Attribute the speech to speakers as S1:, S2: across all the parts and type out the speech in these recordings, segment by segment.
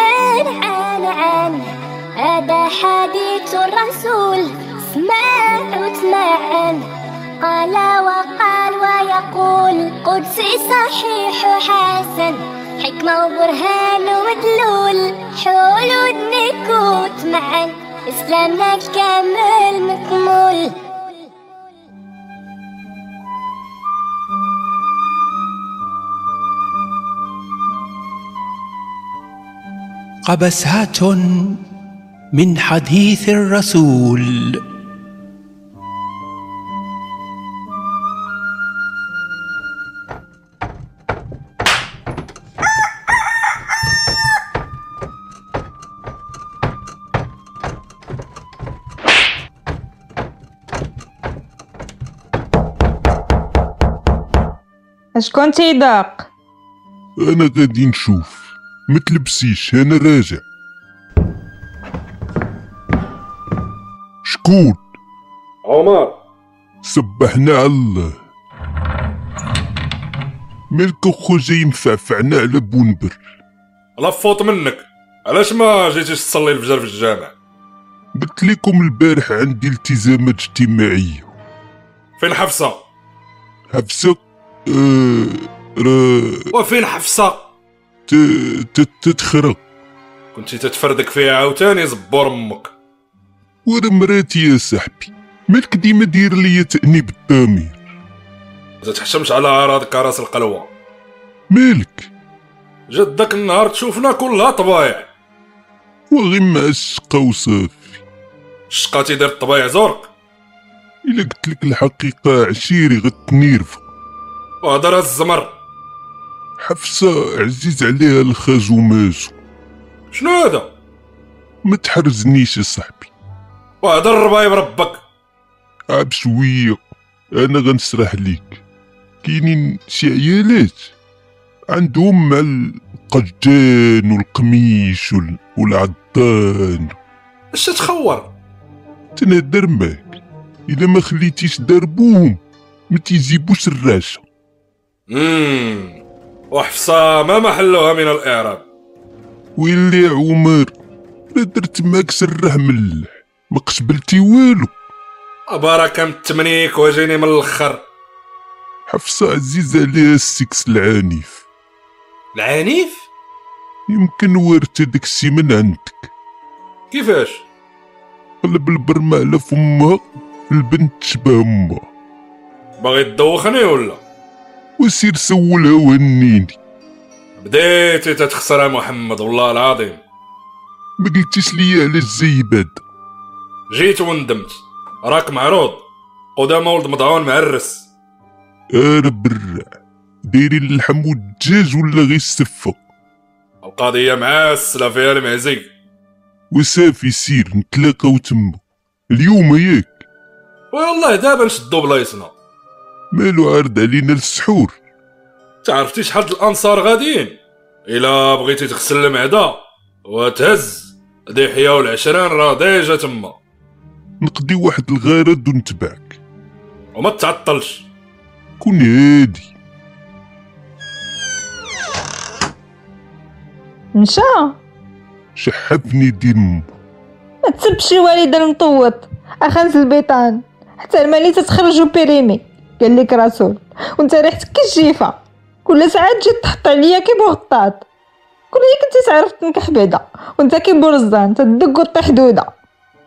S1: الآن عن هذا حديث الرسول سمعت معا قال وقال ويقول قدسي صحيح حسن حكمة وبرهان ومدلول حول ودنك وتمعن إسلامنا كامل مكمول
S2: قبسات من حديث الرسول
S3: شكون تيدق
S4: انا غادي نشوف ما تلبسيش انا راجع شكون
S5: عمر
S4: سبحنا على الله مالك اخو جاي مفعفعنا على بونبر
S5: لفوت منك علاش ما جيتيش تصلي الفجر في الجامع
S4: قلت لكم البارح عندي التزامات اجتماعية
S5: فين حفصة
S4: حفصة آه راه
S5: وفين حفصة
S4: ت- ت- تتخرق
S5: كنتي تتفردك فيها عاوتاني زبور امك
S4: ورا مراتي يا صاحبي مالك ديما داير ليا تأني بالضمير
S5: ما تحشمش على اعراضك راس القلوه
S4: مالك
S5: جات داك النهار تشوفنا كلها طبايع
S4: وغي مع الشقا وصافي
S5: شقاتي دير الطبايع زرق
S4: إلا قلت لك الحقيقة عشيري غتنيرفق
S5: وهضر الزمر
S4: حفصة عزيز عليها الخاز ومازو
S5: شنو هذا
S4: ما تحرزنيش يا صاحبي
S5: وهضر الربايب ربك
S4: عاب شوية أنا غنسرح ليك كاينين شي عيالات عندهم مع القجان والقميش وال- والعضان
S5: اش تخور
S4: تنهدر معاك إلا ما خليتيش داربوهم ما تيجيبوش الراشة
S5: امم وحفصة ما محلها من الاعراب
S4: ويلي يا عمر لا درت معاك سره ملح ما قبلتي والو
S5: بركة من التمنيك وجيني من الاخر
S4: حفصة عزيزة عليها السكس العنيف
S5: العنيف
S4: يمكن ورث داك الشي من عندك
S5: كيفاش
S4: قلب البرمة على فمها البنت تشبه امها
S5: باغي تدوخني ولا
S4: وسير سولها وهنيني
S5: بديتي تتخسر يا محمد والله العظيم
S4: ما قلتيش ليا علاش جاي بعد
S5: جيت وندمت راك معروض قدام ولد مضعون معرس
S4: انا برع آه، دايرين اللحم والدجاج ولا غير السفة
S5: القضية معسلة فيها المعزي
S4: وصافي سير نتلاقاو تما اليوم ياك
S5: والله دابا نشدو بلايصنا
S4: مالو عارض علينا السحور
S5: تعرفتي شحال د الانصار غاديين الا بغيتي تغسل المعدة وتهز ضحية والعشرين راه ديجا تما
S4: نقضي واحد الغرض ونتبعك
S5: وما تعطلش
S4: كون هادي
S3: مشى
S4: شحفني دين امك
S3: ما تسبش شي والد المطوط اخنز البيطان حتى المالي تتخرج بيريمي قال لك رسول وانت ريحتك كالجيفه كل ساعه تجي تحط عليا كي بغطاط كل هي كنتي تعرف تنكح بعدا وانت كي برزان تدق وطيح دوده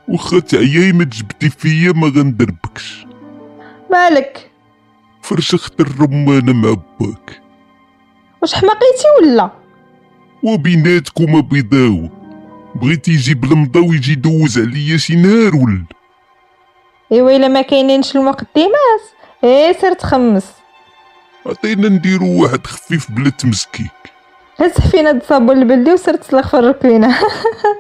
S4: وخا تعياي ما تجبدي فيا ما غندربكش
S3: مالك
S4: فرشخت الرمانة مع باك
S3: واش حماقيتي ولا
S4: وبيناتكم بيضاوة بغيتي يجيب المضا ويجي يدوز عليا شي نهار ولا
S3: ايوا الا ما كاينينش المقدمات ايه سير تخمس
S4: عطينا نديرو واحد خفيف بلا تمسكيك
S3: هز حفينه د الصابون البلدي وسير تسلخ في الركينه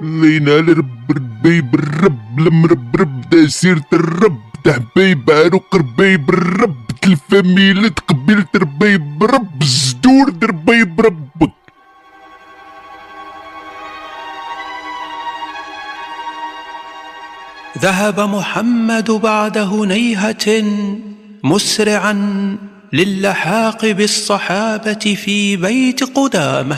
S4: لينا على رب ربيب الرب المرب رب دا سيرة الرب دا حبايب عروق ربيب الرب الفاميلة قبيلة ربيب رب الزدور دا ربيب ربك
S2: ذهب محمد بعد هنيهة مسرعا للحاق بالصحابة في بيت قدامه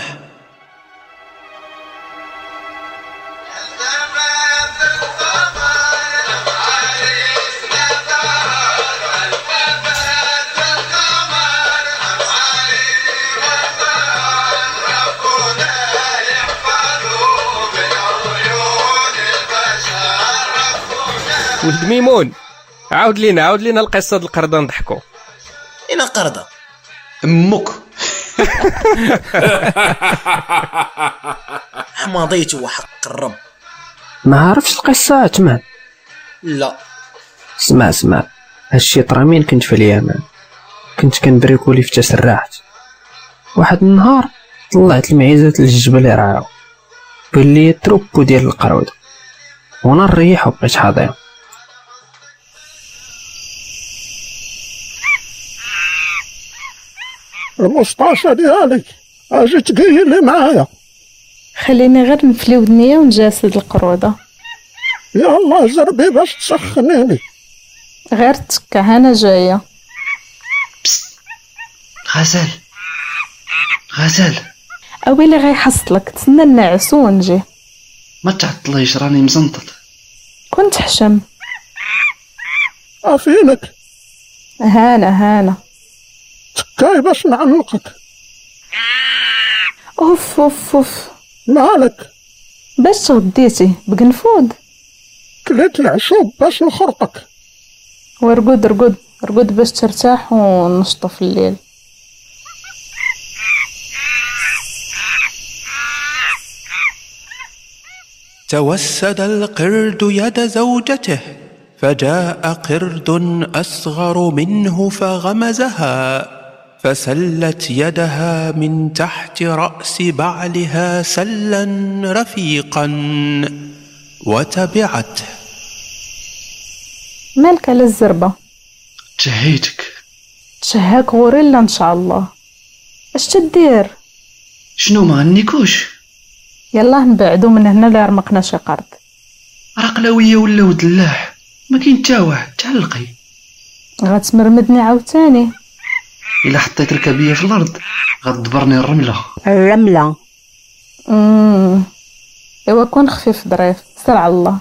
S6: ولد ميمون عاود لينا عاود لينا القصه د القرده نضحكوا
S7: اين قرده امك مضيت وحق الرب
S8: ما عرفش القصه عثمان
S7: لا
S8: اسمع اسمع هادشي طرا مين كنت في اليمن كنت كنبريكولي في تسرعت واحد النهار طلعت المعيزات للجبل يرعاو بان ليا التروبو ديال القرود وانا نريح وبقيت حاضر
S4: المسطاشة ديالي اجي تقيلي معايا
S3: خليني غير نفلي ودنيا ونجسد القرودة
S4: يا الله زربي باش تسخنيني
S3: غير تكا انا جاية
S7: غزال غزال
S3: اويلي غيحصلك تسنى النعس ونجي
S7: ما تعطليش راني مزنطط
S3: كنت حشم
S4: افينك
S3: هانا هانا
S4: تكاي باش نعلقك
S3: اوف اوف اوف
S4: مالك
S3: باش تغديتي بقنفود
S4: كليت العشوب باش نخرطك
S3: ورقد رقد رقد باش ترتاح ونشطو في الليل
S2: توسد القرد يد زوجته فجاء قرد اصغر منه فغمزها فسلت يدها من تحت راس بعلها سلا رفيقا وتبعته
S3: مالك على الزربة
S7: تشهيتك
S3: تشهاك غوريلا ان شاء الله اش تدير
S7: شنو ما غنيكوش
S3: يلا نبعدو من هنا لا رمقنا شي قرد
S7: عرقلاويه ولاو دلاح ما كاين حتى واحد تعلقي
S3: غتمرمدني عاوتاني
S7: الا حطيت ركبيه في الارض غتدبرني الرمله
S9: الرملة
S3: امم ايوا كون خفيف ظريف سر على الله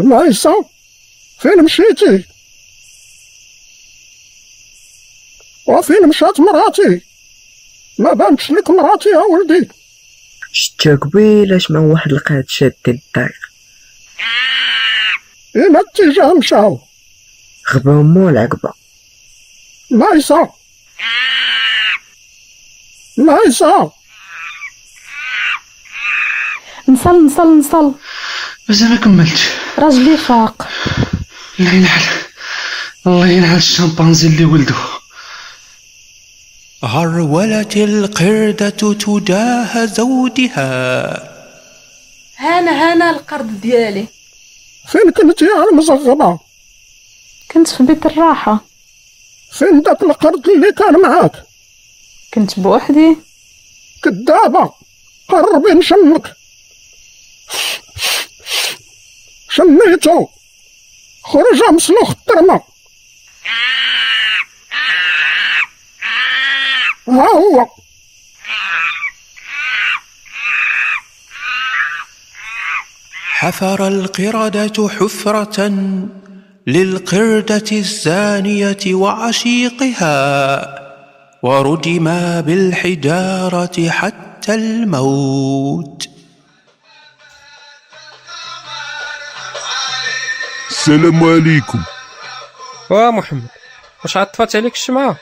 S4: العيسى فين مشيتي وفين مشات مراتي ما بانتش لك مراتي يا ولدي
S10: شتا قبيل اش ما واحد لقات شاد ديال الطريق
S4: الى اتجاه مشاو
S10: غبا مو العقبة
S4: العيسى العيسى
S3: نصل نصل نصل
S7: مازال ما كملتش
S3: راجلي فاق
S7: الله ينعل الله ينعل الشمبانزي اللي ولده
S2: هرولت القردة تجاه زوجها
S3: هانا هانا القرد ديالي
S4: فين كنت يا المزغبة
S3: كنت في بيت الراحة
S4: فين داك القرد اللي كان معاك
S3: كنت بوحدي
S4: كدابة قربي نشمك شميتو خرج مسلوخ الترمة ها هو
S2: حفر القردة حفرة للقردة الزانية وعشيقها ورجما بالحجارة حتى الموت
S11: السلام عليكم
S6: وا محمد واش عطفات عليك الشمعه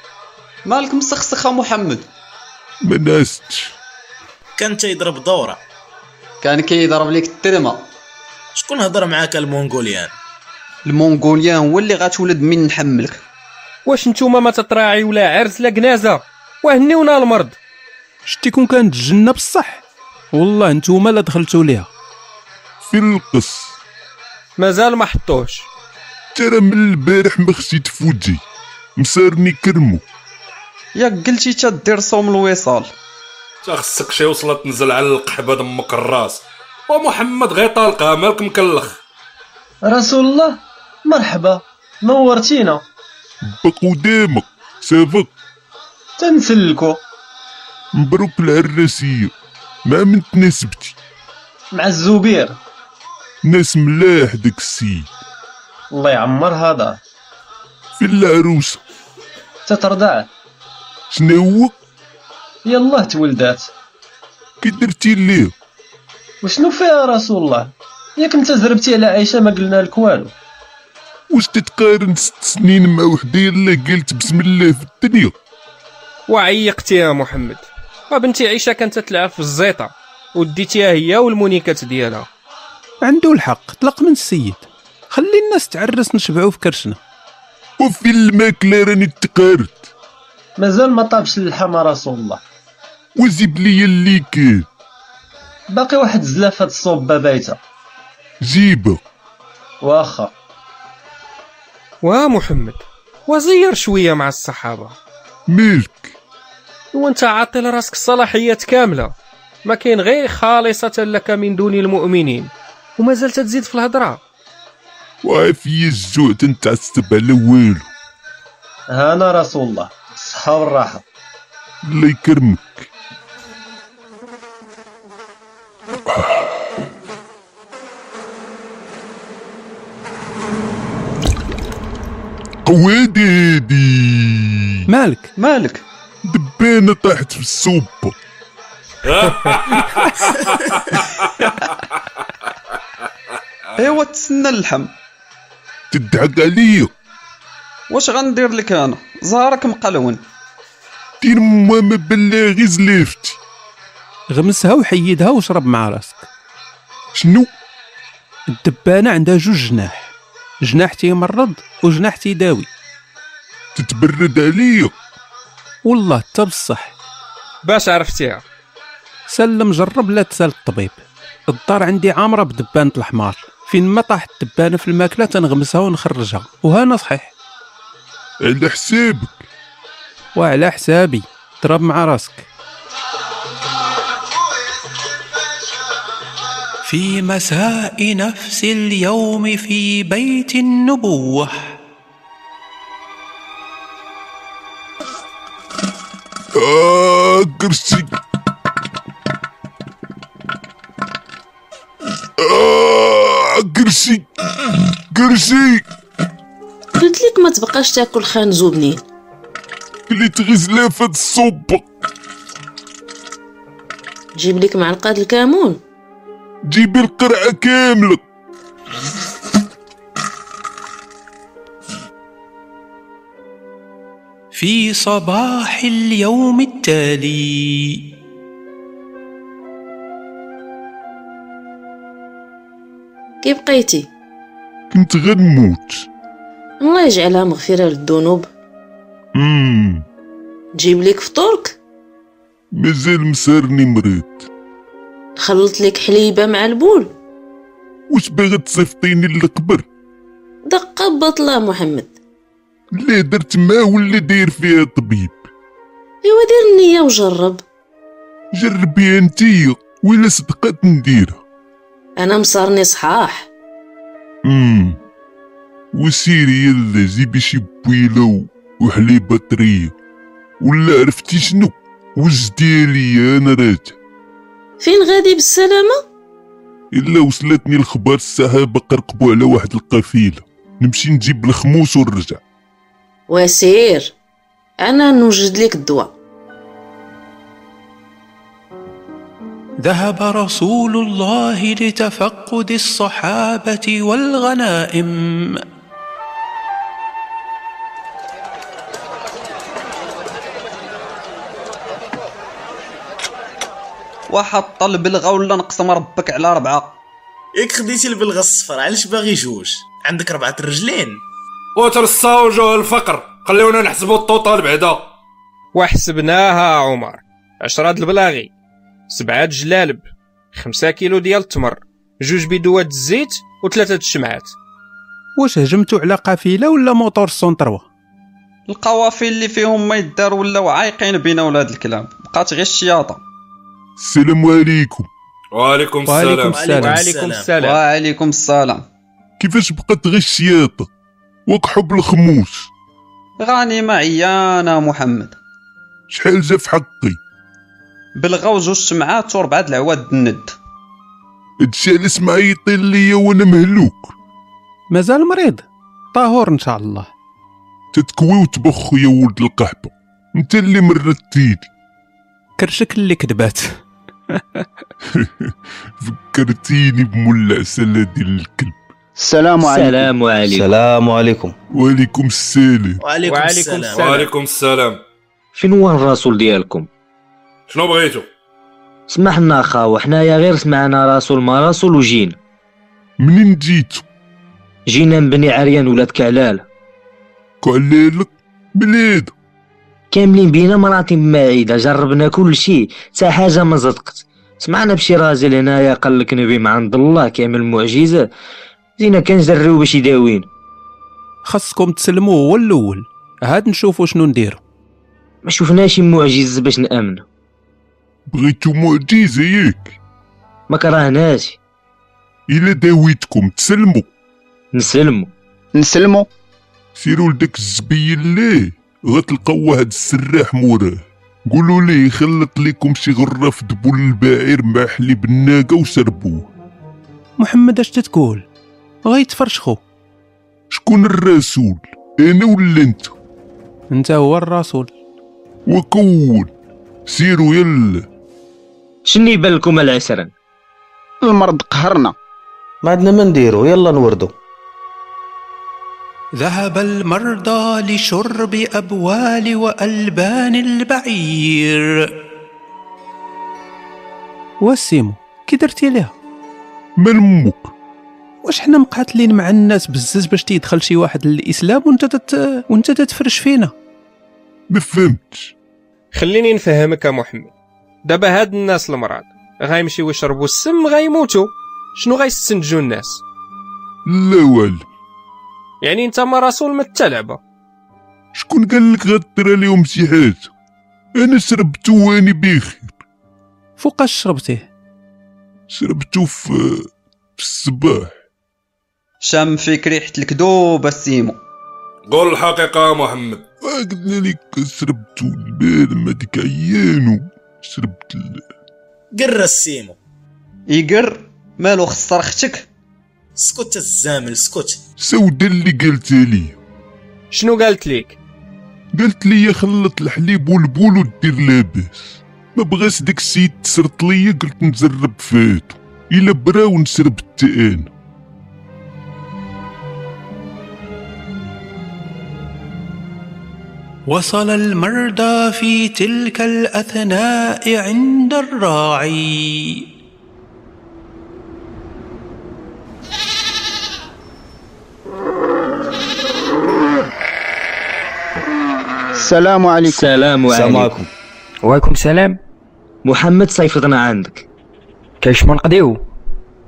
S7: مالك مسخسخه محمد
S11: ما ناستش
S7: كان تيضرب دوره
S12: كان كيضرب ليك التلمه
S7: شكون هضر معاك المونغوليان
S12: المونغوليان هو اللي غتولد من نحملك
S6: واش نتوما ما تطراعي ولا عرس لا جنازه وهنيونا المرض
S2: شتي كون كانت الجنة بصح والله نتوما لا دخلتوا ليها
S11: في القص
S6: مازال ما حطوش
S11: ترى من البارح ما خسيت فودي مسارني كرمو
S12: ياك قلتي تدير صوم الوصال
S5: تا خصك شي وصلة تنزل على القحبة دمك الراس ومحمد غير طالقها مالك مكلخ
S13: رسول الله مرحبا نورتينا
S11: بقى قدامك سافك
S13: تنسلكو
S11: مبروك العراسية ما من تناسبتي
S13: مع الزبير
S11: ناس ملاح داك السيد
S13: الله يعمر هذا
S11: في العروسة
S13: تترضع
S11: شنو هو
S14: يلاه تولدات
S4: كي درتي ليه
S14: وشنو فيها رسول الله ياك انت زربتي على عائشه ما قلنا لك والو
S4: واش تتقارن ست سنين مع وحده يلا قالت بسم الله في الدنيا
S8: وعيقتي يا محمد وبنتي عيشه كانت تلعب في الزيطه وديتيها هي والمونيكات ديالها
S2: عنده الحق طلق من السيد خلي الناس تعرس نشبعو في كرشنا
S4: وفي الماكله راني تقارت
S14: مازال ما طابش اللحم رسول الله
S4: وزيب لي اللي كاين
S14: باقي واحد زلافه الصوبه بايته
S4: جيبه
S14: واخا
S8: وا محمد وزير شويه مع الصحابه
S4: ملك
S8: وانت عاطل راسك الصلاحيات كامله ما كاين غير خالصه لك من دون المؤمنين وما زلت تزيد في الهضره
S4: وعافية الجوع تنتعصب على والو
S14: هانا رسول الله الصحه والراحه
S4: الله يكرمك قواديدي
S2: مالك
S13: مالك
S4: دبانة طاحت في السوبة
S13: ايوا تسنى اللحم
S4: تضحك عليا
S13: واش غندير لك انا زهرك مقلون
S4: دير ما ما بلا غير زليفتي
S2: غمسها وحيدها وشرب مع راسك
S4: شنو
S2: الدبانه عندها جوج جناح جناح تيمرض وجناح تيداوي
S4: تتبرد عليا
S2: والله حتى بصح
S8: باش عرفتيها
S2: سلم جرب لا تسال الطبيب الدار عندي عامره بدبانه الحمار فين ما طاحت الدبانه في الماكله تنغمسها ونخرجها وهنا صحيح
S4: على حسابك
S2: وعلى حسابي ضرب مع راسك
S15: في مساء نفس اليوم في بيت النبوة
S4: آه كرسي آه كرسي كرسي
S16: قلت لك ما تبقاش تاكل خنزو بنين
S4: كليت غير زلافة الصوبة
S16: جيب لك معلقة د الكمون
S4: جيبي القرعة كاملة
S15: في صباح اليوم التالي
S16: كي بقيتي
S4: كنت غنموت
S16: الله يجعلها مغفرة للذنوب
S4: مم.
S16: جيب لك فطورك
S4: مازال مسارني مريض
S16: خلط لك حليبة مع البول
S4: واش باغا تصيفطيني للقبر
S16: دقة بطلة محمد
S4: لا درت ما ولا داير فيها طبيب
S16: ايوا دير النية وجرب
S4: جربيها انتيا ولا صدقات نديرها
S16: انا مصارني صحاح
S4: امم وسيري يلا جيبي شي بويله و- وحليبه طريه ولا عرفتي شنو وجدي ليا انا راجع
S16: فين غادي بالسلامة
S4: الا وصلتني الخبر الصحابه قرقبوا على واحد القفيله نمشي نجيب الخموس ونرجع
S16: وسير انا نوجد لك الدواء
S15: ذهب رسول الله لتفقد الصحابة والغنائم
S13: وحط البلغه ولا نقسم ربك على ربعه
S7: ياك خديتي البلغه الصفر علاش باغي جوج عندك ربعه الرجلين
S5: وترصاو وجوه الفقر خليونا نحسبوا الطوطال بعدا
S8: وحسبناها عمر عشرة د البلاغي سبعة د الجلالب خمسة كيلو ديال التمر جوج بدوات الزيت وثلاثة د الشمعات
S2: واش هجمتو على قافله ولا موتور سونتروا
S13: القوافل اللي فيهم ما يدار ولاو عايقين بينا ولاد الكلام بقات غير الشياطه
S4: السلام عليكم
S5: وعليكم السلام
S8: وعليكم السلام.
S13: وعليكم السلام
S4: كيفاش بقات غير الشياطه وقحوا بالخموس
S13: غاني معي انا محمد
S4: شحال جا في حقي
S13: بلغه وجوج شمعات وربعه د العواد الند
S4: هادشي علاش ما عيطين ليا وانا مهلوك
S2: مازال مريض طاهور ان شاء الله
S4: تتكوي وتبخ يا ولد القحبه انت اللي مرتيني
S2: كرشك اللي كذبات
S4: فكرتيني بمولع سلة ديال الكلب
S17: السلام عليكم
S13: السلام عليكم السلام عليكم
S4: وعليكم السلام
S17: وعليكم
S5: وعليكم
S17: السلام.
S5: السلام وعليكم السلام
S13: فين هو الرسول ديالكم
S5: شنو بغيتو
S13: سمح لنا اخاو حنايا غير سمعنا رسول ما رسول وجينا
S4: منين جيتو
S13: جينا من بني عريان ولاد كعلال
S4: كعلال بلاد
S13: كاملين بينا مراتي معيدة جربنا كل شيء حتى حاجة ما صدقت سمعنا بشي راجل هنايا قال لك نبي من عند الله كامل معجزة زينا كنجريو باش يداوينا
S2: خاصكم تسلموه هو الاول عاد نشوفوا شنو نديرو
S13: ما شفناش معجز باش نامن
S4: بغيتو معجزة ياك
S13: ما كرهناش
S4: إلا داويتكم تسلموا
S13: نسلموا
S17: نسلموا
S4: سيروا لداك الزبيل ليه غتلقاو واحد السراح موراه قولوا ليه يخلط لكم شي غراف دبول البعير مع حليب الناقة وسربوه
S2: محمد اش تتقول غيتفرشخو
S4: شكون الرسول انا ولا انت
S2: انت هو الرسول
S4: وكون سيروا يلا
S13: شنو يبان لكم العسران
S17: المرض قهرنا
S13: ما عندنا ما نديرو يلا نوردو
S18: ذهب المرضى لشرب أبوال وألبان البعير
S2: وسيمو كي درتي ليها
S4: من امك
S2: واش حنا مقاتلين مع الناس بزاف باش تيدخل شي واحد للاسلام وانت تت... وانت تتفرش فينا
S4: ما فهمتش
S8: خليني نفهمك يا محمد دابا هاد الناس المرض غيمشيو يشربوا السم غيموتوا شنو غيستنتجوا الناس
S4: لا والو
S8: يعني انت ما رسول ما التلعبه
S4: شكون قال لك غدرا ليهم شي حاجه انا شربتو واني بخير
S2: فوقاش شربتيه
S4: شربتو في في الصباح
S19: شام فيك ريحه الكذوب السيمو
S5: قول الحقيقه يا محمد
S4: قلنا لك شربتو البال ما ديك عيانو شربت ال-
S7: قرا السيمو
S19: يقر مالو خص رختك
S7: سكت الزامل سكت
S4: سودا اللي قالت لي
S8: شنو قالت ليك
S4: قالت لي خلط الحليب والبول ودير لاباس ما بغاش داك السيد تسرط ليا قلت نجرب فاتو الا برا ونشرب حتى انا
S18: وصل المرضى في تلك الأثناء عند الراعي
S17: السلام عليكم
S13: السلام
S17: السلام
S13: عليكم
S17: وعليكم السلام
S13: محمد صيفطنا عندك
S17: كاش ما نقضيو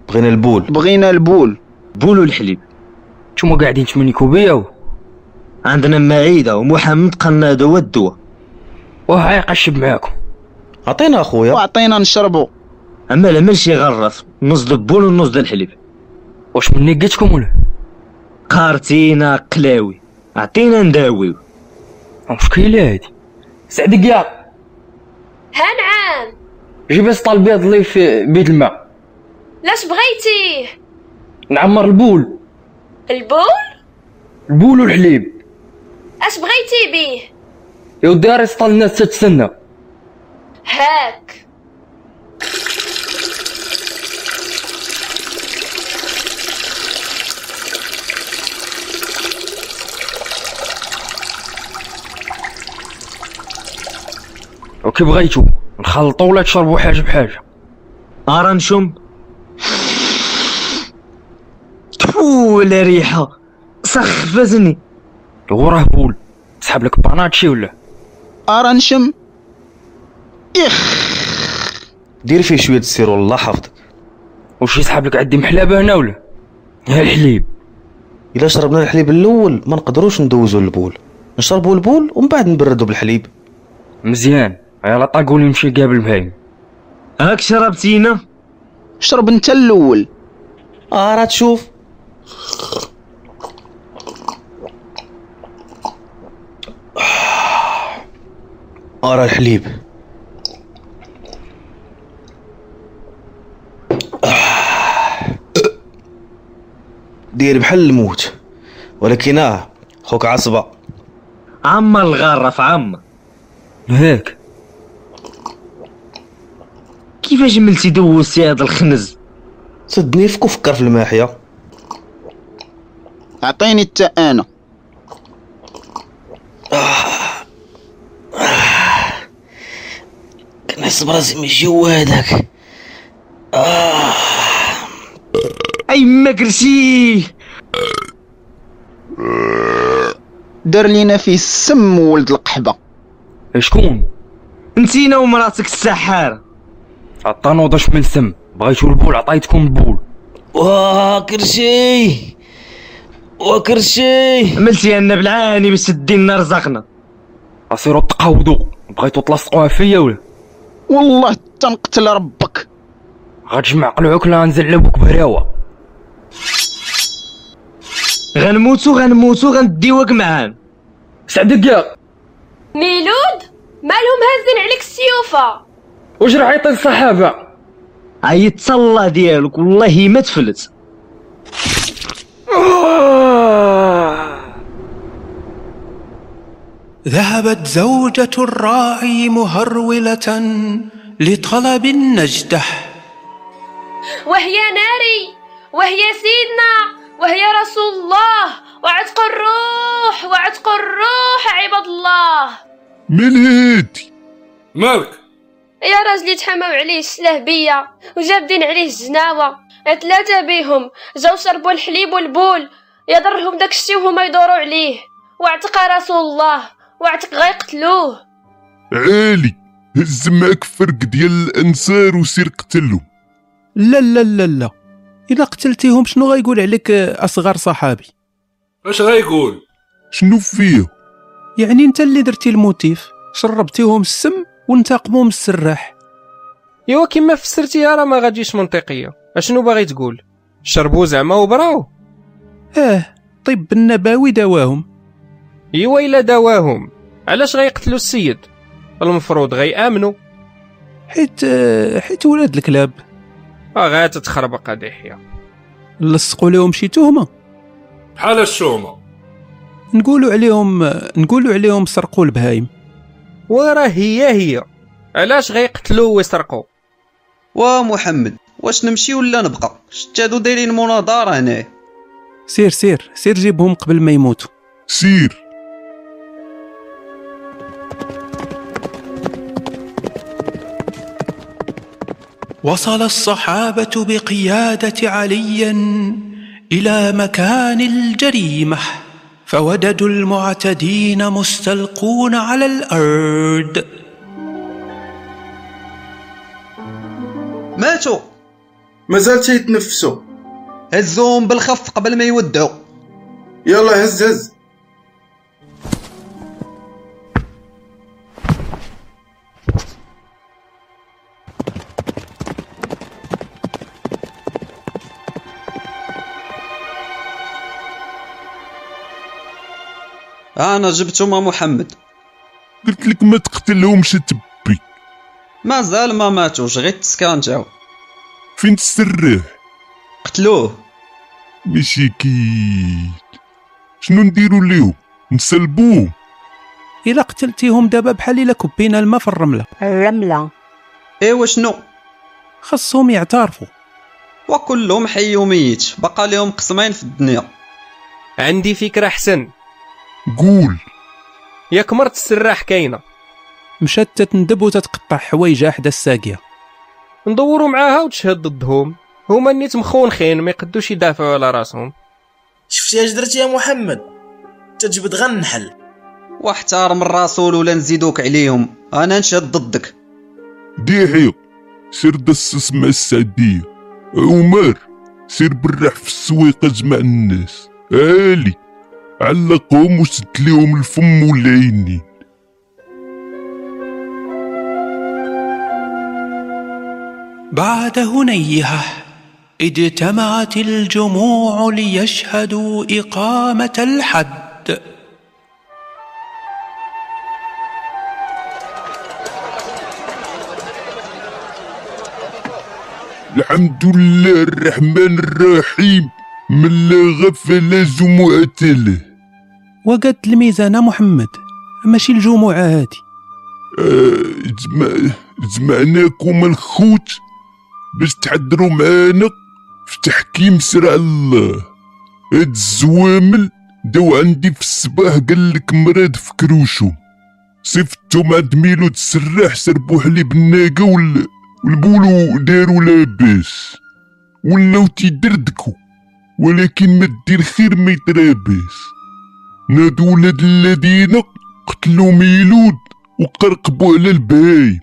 S13: بغينا البول
S17: بغينا البول
S13: بول والحليب
S17: نتوما قاعدين تمنكو بيا
S13: عندنا معيده ومحمد قالنا هذا هو الدواء
S17: واه عيقشب معاكم
S13: عطينا اخويا
S17: وعطينا نشربو
S13: اما لا ماشي غرف نص د البول ونص د الحليب
S17: واش مني قلتكم ولا
S13: قارتينا قلاوي عطينا نداويو
S17: مشكلة هادي
S20: تسع دقيقة
S21: ها نعم
S20: جيب اسطى البيض اللي في بيد الماء
S21: لاش بغيتيه
S20: نعمر البول
S21: البول
S20: البول والحليب
S21: اش بغيتي بيه
S20: يا ودي راه اسطى الناس تتسنى
S21: هاك
S20: وكي بغيتو نخلطو ولا تشربوا حاجة بحاجة
S13: ارا نشم تفو ولا ريحة سخفزني
S20: وراه بول تسحب لك باناتشي ولا
S17: ارا نشم
S13: دير فيه شوية السيرو الله حافظك
S20: واش يسحب لك عندي محلابة هنا ولا ها الحليب
S13: الا شربنا الحليب الاول ما نقدروش ندوزو البول نشربو البول ومن بعد نبردو بالحليب
S20: مزيان يلا طاقولي نمشي قابل مهايم
S13: هاك شربتينا
S17: شرب انت الاول
S13: اه راه تشوف ارى الحليب دير بحال الموت ولكن اه خوك عصبة عم الغرف عم
S20: هاك
S22: كيفاش ملتي دوزتي هذا الخنز
S23: سدني في كفكر في الماحيه
S24: اعطيني التا انا
S7: كنحس براسي من الجو هذاك
S22: اي ما كرسي
S24: دار لينا فيه السم ولد القحبه شكون
S22: انتينا ومراتك السحار
S25: عطانا وضش من السم بغيتو البول عطيتكم البول
S7: واه كرشي وكرشي
S22: عملتي لنا بالعاني باش تدي لنا رزقنا
S25: اصيروا تقاودوا بغيتو تلصقوها فيا ولا
S24: والله تنقتل ربك
S25: غتجمع قلعك لا نزلبوك بهراوه
S22: غنموتو غنموتو غنديوك معانا
S25: سعدك يا
S26: ميلود مالهم هازين عليك السيوفة
S25: وجر عيط الصحابه
S22: عيط الله ديالك والله ما تفلت
S15: ذهبت زوجة الراعي مهرولة لطلب النجدة
S26: وهي ناري وهي سيدنا وهي رسول الله وعتق الروح وعتق الروح عباد الله
S4: من هادي
S5: مالك
S26: يا راجلي تحماو عليه السلاه بيا وجابدين عليه الزناوة ثلاثة بيهم جاو شربوا الحليب والبول يضرهم داك الشي وهما يدوروا عليه واعتق رسول الله واعتق غيقتلوه
S4: عالي هز معاك فرق ديال الانصار وسير قتلهم
S2: لا لا لا لا الا قتلتيهم شنو غايقول عليك آه، اصغر صحابي
S5: اش غيقول
S4: شنو فيه
S2: يعني انت اللي درتي الموتيف شربتيهم السم وانتقموا من السراح
S8: ايوا كيما فسرتيها راه ما غاديش منطقيه اشنو باغي تقول شربوا زعما وبراو
S2: اه طب النبوي دواهم
S8: ايوا الا دواهم علاش غيقتلوا السيد المفروض غيامنوا
S2: حيت آه، حيت ولاد الكلاب
S8: اه غاتتخربق هادي حيا
S2: لصقوا لهم شي تهمه
S5: بحال الشومة
S2: نقولوا عليهم آه، نقولوا عليهم سرقوا البهايم
S8: وراه هي هي علاش غيقتلوا ويسرقوا
S13: ومحمد واش نمشي ولا نبقى شتادو دايرين مناظره هنا
S2: سير سير سير جيبهم قبل ما يموتوا
S4: سير
S15: وصل الصحابة بقيادة علي إلى مكان الجريمة فوجدوا المعتدين مستلقون على الأرض
S13: ماتوا
S7: مازال تيتنفسوا
S13: هزوهم بالخف قبل ما يودعوا
S7: يلا هز هز
S13: انا جبتهم يا محمد
S4: قلت لك ما تقتلهمش تب
S13: مازال ما ماتوش غير تسكانجاو
S4: فين تسرح
S13: قتلوه
S4: ماشي كي شنو نديرو ليهم نسلبوهم
S2: الا قتلتيهم دابا بحال الا كبينا الماء في الرمله
S13: الرمله ايوا شنو
S2: خصهم يعترفوا
S13: وكلهم حي وميت بقى لهم قسمين في الدنيا
S8: عندي فكره احسن
S4: قول
S8: ياك مرت السراح كاينه
S2: مشات تتندب وتتقطع حوايجها حدا الساقيه
S8: ندوروا معاها وتشهد ضدهم هما نيت مخونخين ما يقدوش يدافعوا على راسهم
S7: شفتي اش درتي يا محمد تجبد غنحل
S13: واحترم الرسول ولا نزيدوك عليهم انا نشهد ضدك
S4: ديحيو سير دسس مع السعدية عمر سير بالراح في السويقة جمع الناس عالي علقهم وسد ليهم الفم والعينين
S15: بعد هنيهة اجتمعت الجموع ليشهدوا إقامة الحد
S4: الحمد لله الرحمن الرحيم من لا غفل جمعته
S2: وقد الميزانه محمد ماشي الجمعه هادي
S4: آه، جمع جمعناكم الخوت باش تحضروا معانا في تحكيم سرع الله هاد الزوامل داو عندي في الصباح قال لك مراد في كروشو صفتهم عند ميلود السراح سربوا حليب الناقه وال... والبولو داروا لاباس ولاو تيدردكو ولكن ما دير خير ما يتراباس نادوا ولاد الذين قتلوا ميلود وقرقبوا على البهايم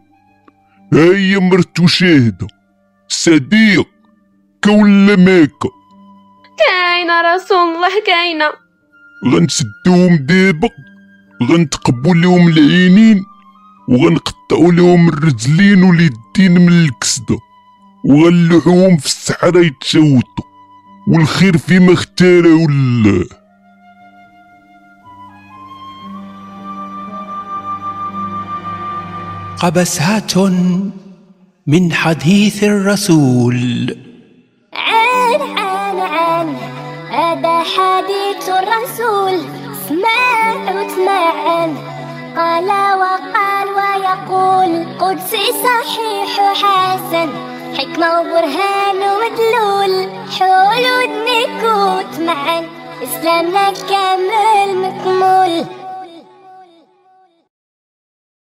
S4: ها هي مرتو شاهده صديق كون لماكه
S26: كاينه رسول الله كاينه
S4: غنسدوهم دابا غنتقبوا لهم العينين وغنقطعوا لهم الرجلين واليدين من الكسدة وغنلوحوهم في الصحراء يتشوتوا والخير فيما اختاره الله
S15: قبسات من حديث الرسول
S1: عن عن عن هذا حديث الرسول اسمع واسمع عن قال وقال ويقول قدسي صحيح حسن حكمة وبرهان ومدلول حلول ودنك وتمعن إسلامنا كامل مكمول